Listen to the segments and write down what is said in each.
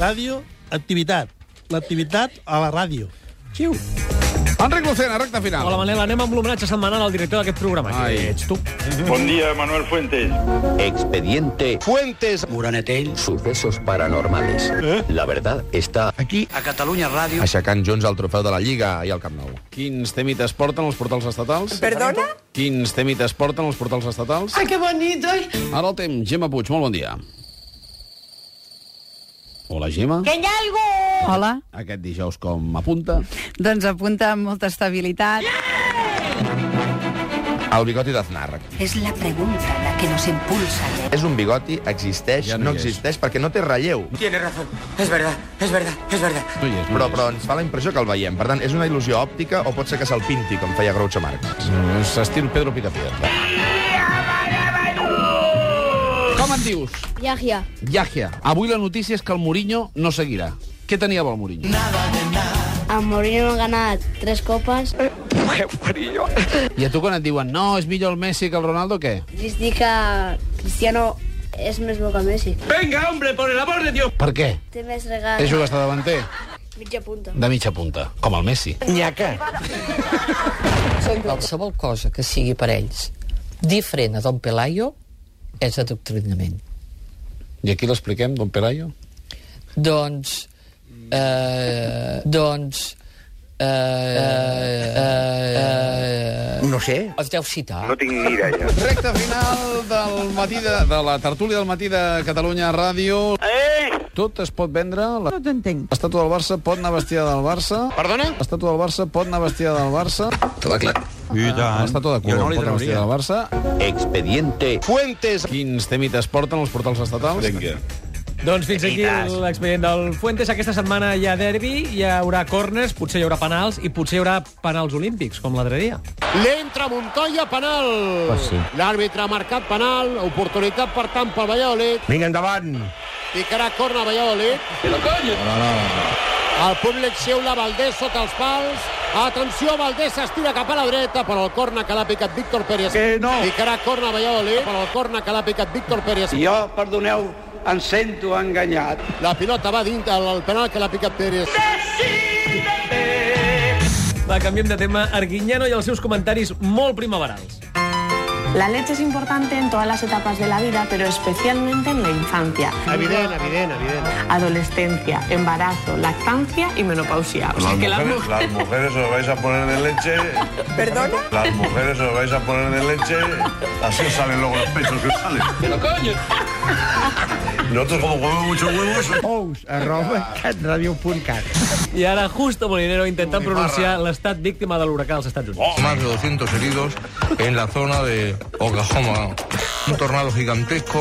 Ràdio, activitat. L'activitat a la ràdio. Xiu. Enric Lucena, recta final. Hola, Manel, anem amb l'homenatge setmanal al director d'aquest programa. Ai. Que ets tu. Buen día, Manuel Fuentes. Expediente Fuentes. Eh? Moranetell. Sucesos paranormales. La verdad está Aquí. a Catalunya Ràdio. aixecant junts el trofeu de la Lliga i el Camp Nou. Quins temites porten els portals estatals? ¿Perdona? Quins temites porten els portals estatals? ¡Ay, qué bonito! Ara el temps. Gemma Puig, molt bon dia. Hola, Gemma. Hola. Aquest dijous com apunta? Doncs apunta amb molta estabilitat. El bigoti d'Aznar. Es la pregunta la que nos impulsa. És un bigoti, existeix, Ja ja no no, no hi és. existeix, perquè no té relleu. Tiene razón. Es verdad, es verdad, es verdad. Tu hi és, Però, però ens fa la impressió que el veiem. Per tant, és una il·lusió òptica o pot ser que se'l pinti, com feia Groucho Marx. però... S'estil Mm, Pedro Picapiedra. Com et dius? Yahya. Yahya. Avui la notícia és que el Mourinho no seguirà. Què tenia bo el Mourinho? A Mourinho han ganat tres copes. I a tu quan et diuen no, és millor el Messi que el Ronaldo, què? Ells dir que Cristiano és més bo que Messi. Per què? Té més regals. És jugador davanter? Mitja punta. De mitja punta, com el Messi. Qualsevol cosa que sigui per ells diferent a Don Pelayo és adoctrinament. I aquí l'expliquem, don Pelayo? Doncs... Eh, doncs... Eh, eh, eh, No sé. els deu citar. Recte final del matí de, de la tertúlia del matí de Catalunya Ràdio. Tot es pot vendre. La... No t'entenc. L'estàtua del Barça pot anar vestida del Barça. Perdona? L'estàtua del Barça pot anar vestida del Barça. I L'estàtua de color Jo no li pot anar vestida del Barça. Expediente Fuentes. Quins temites porten els portals estatals? Vinga. Doncs fins aquí l'expedient del Fuentes. Aquesta setmana hi ha derbi, hi haurà corners, potser hi haurà penals i potser hi haurà penals olímpics, com l'altre dia. L'entra Montoya, penal. Ah, Pues sí. L'àrbitre ha marcat penal, oportunitat per tant pel Valladolid. Vinga, endavant. Picarà corna Valladolid. El públic xiula Valdés sota els pals. Atenció, Valdés s'estira cap a la dreta, però el corna que l'ha picat Víctor Pérez. Que no. Picarà corna Valladolid, però el corna que l'ha picat Víctor Pérez. Jo, perdoneu, em sento enganyat. La pilota va dintre el penal que l'ha picat Pérez. Va, canviem de tema. Arguiñano i els seus comentaris molt primaverals. La leche es importante en todas las etapas de la vida, pero especialmente en la infancia. Evident, evident, evident. Adolescencia, embarazo, lactancia y menopausia. O sea que la mujer... Las mujeres os vais a poner de leche. Perdona? Las mujeres os vais a poner de leche. Así os salen luego los pechos que os salen. ¡Pero coño! Nosotros como comemos muchos huevos... I ara Justo Molinero intentant pronunciar l'estat víctima de l'huracà als Estats Oh. Units. Más de 200 heridos en la zona de Oklahoma. Un tornado gigantesco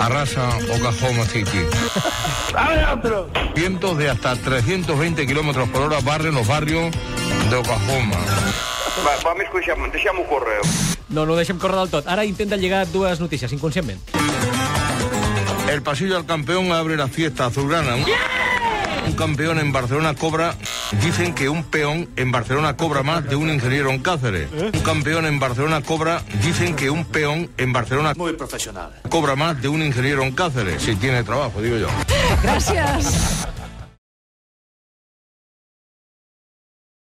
arrasa Oklahoma City. Vientos de hasta 320 kilómetros por hora barren los barrios de Oklahoma. Vam escuchar, deixa'm un correu. No, no ho deixem córrer del tot. Ara intenta lligar dues notícies, inconscientment. El pasillo del campeón abre la fiesta azulgrana. Un campeón en Barcelona cobra. Dicen que un peón en Barcelona cobra más de un ingeniero en Cáceres. Un campeón en Barcelona cobra. Dicen que un peón en Barcelona Muy professional. cobra más de un ingeniero en Cáceres. Si tiene trabajo, digo yo. Gràcies.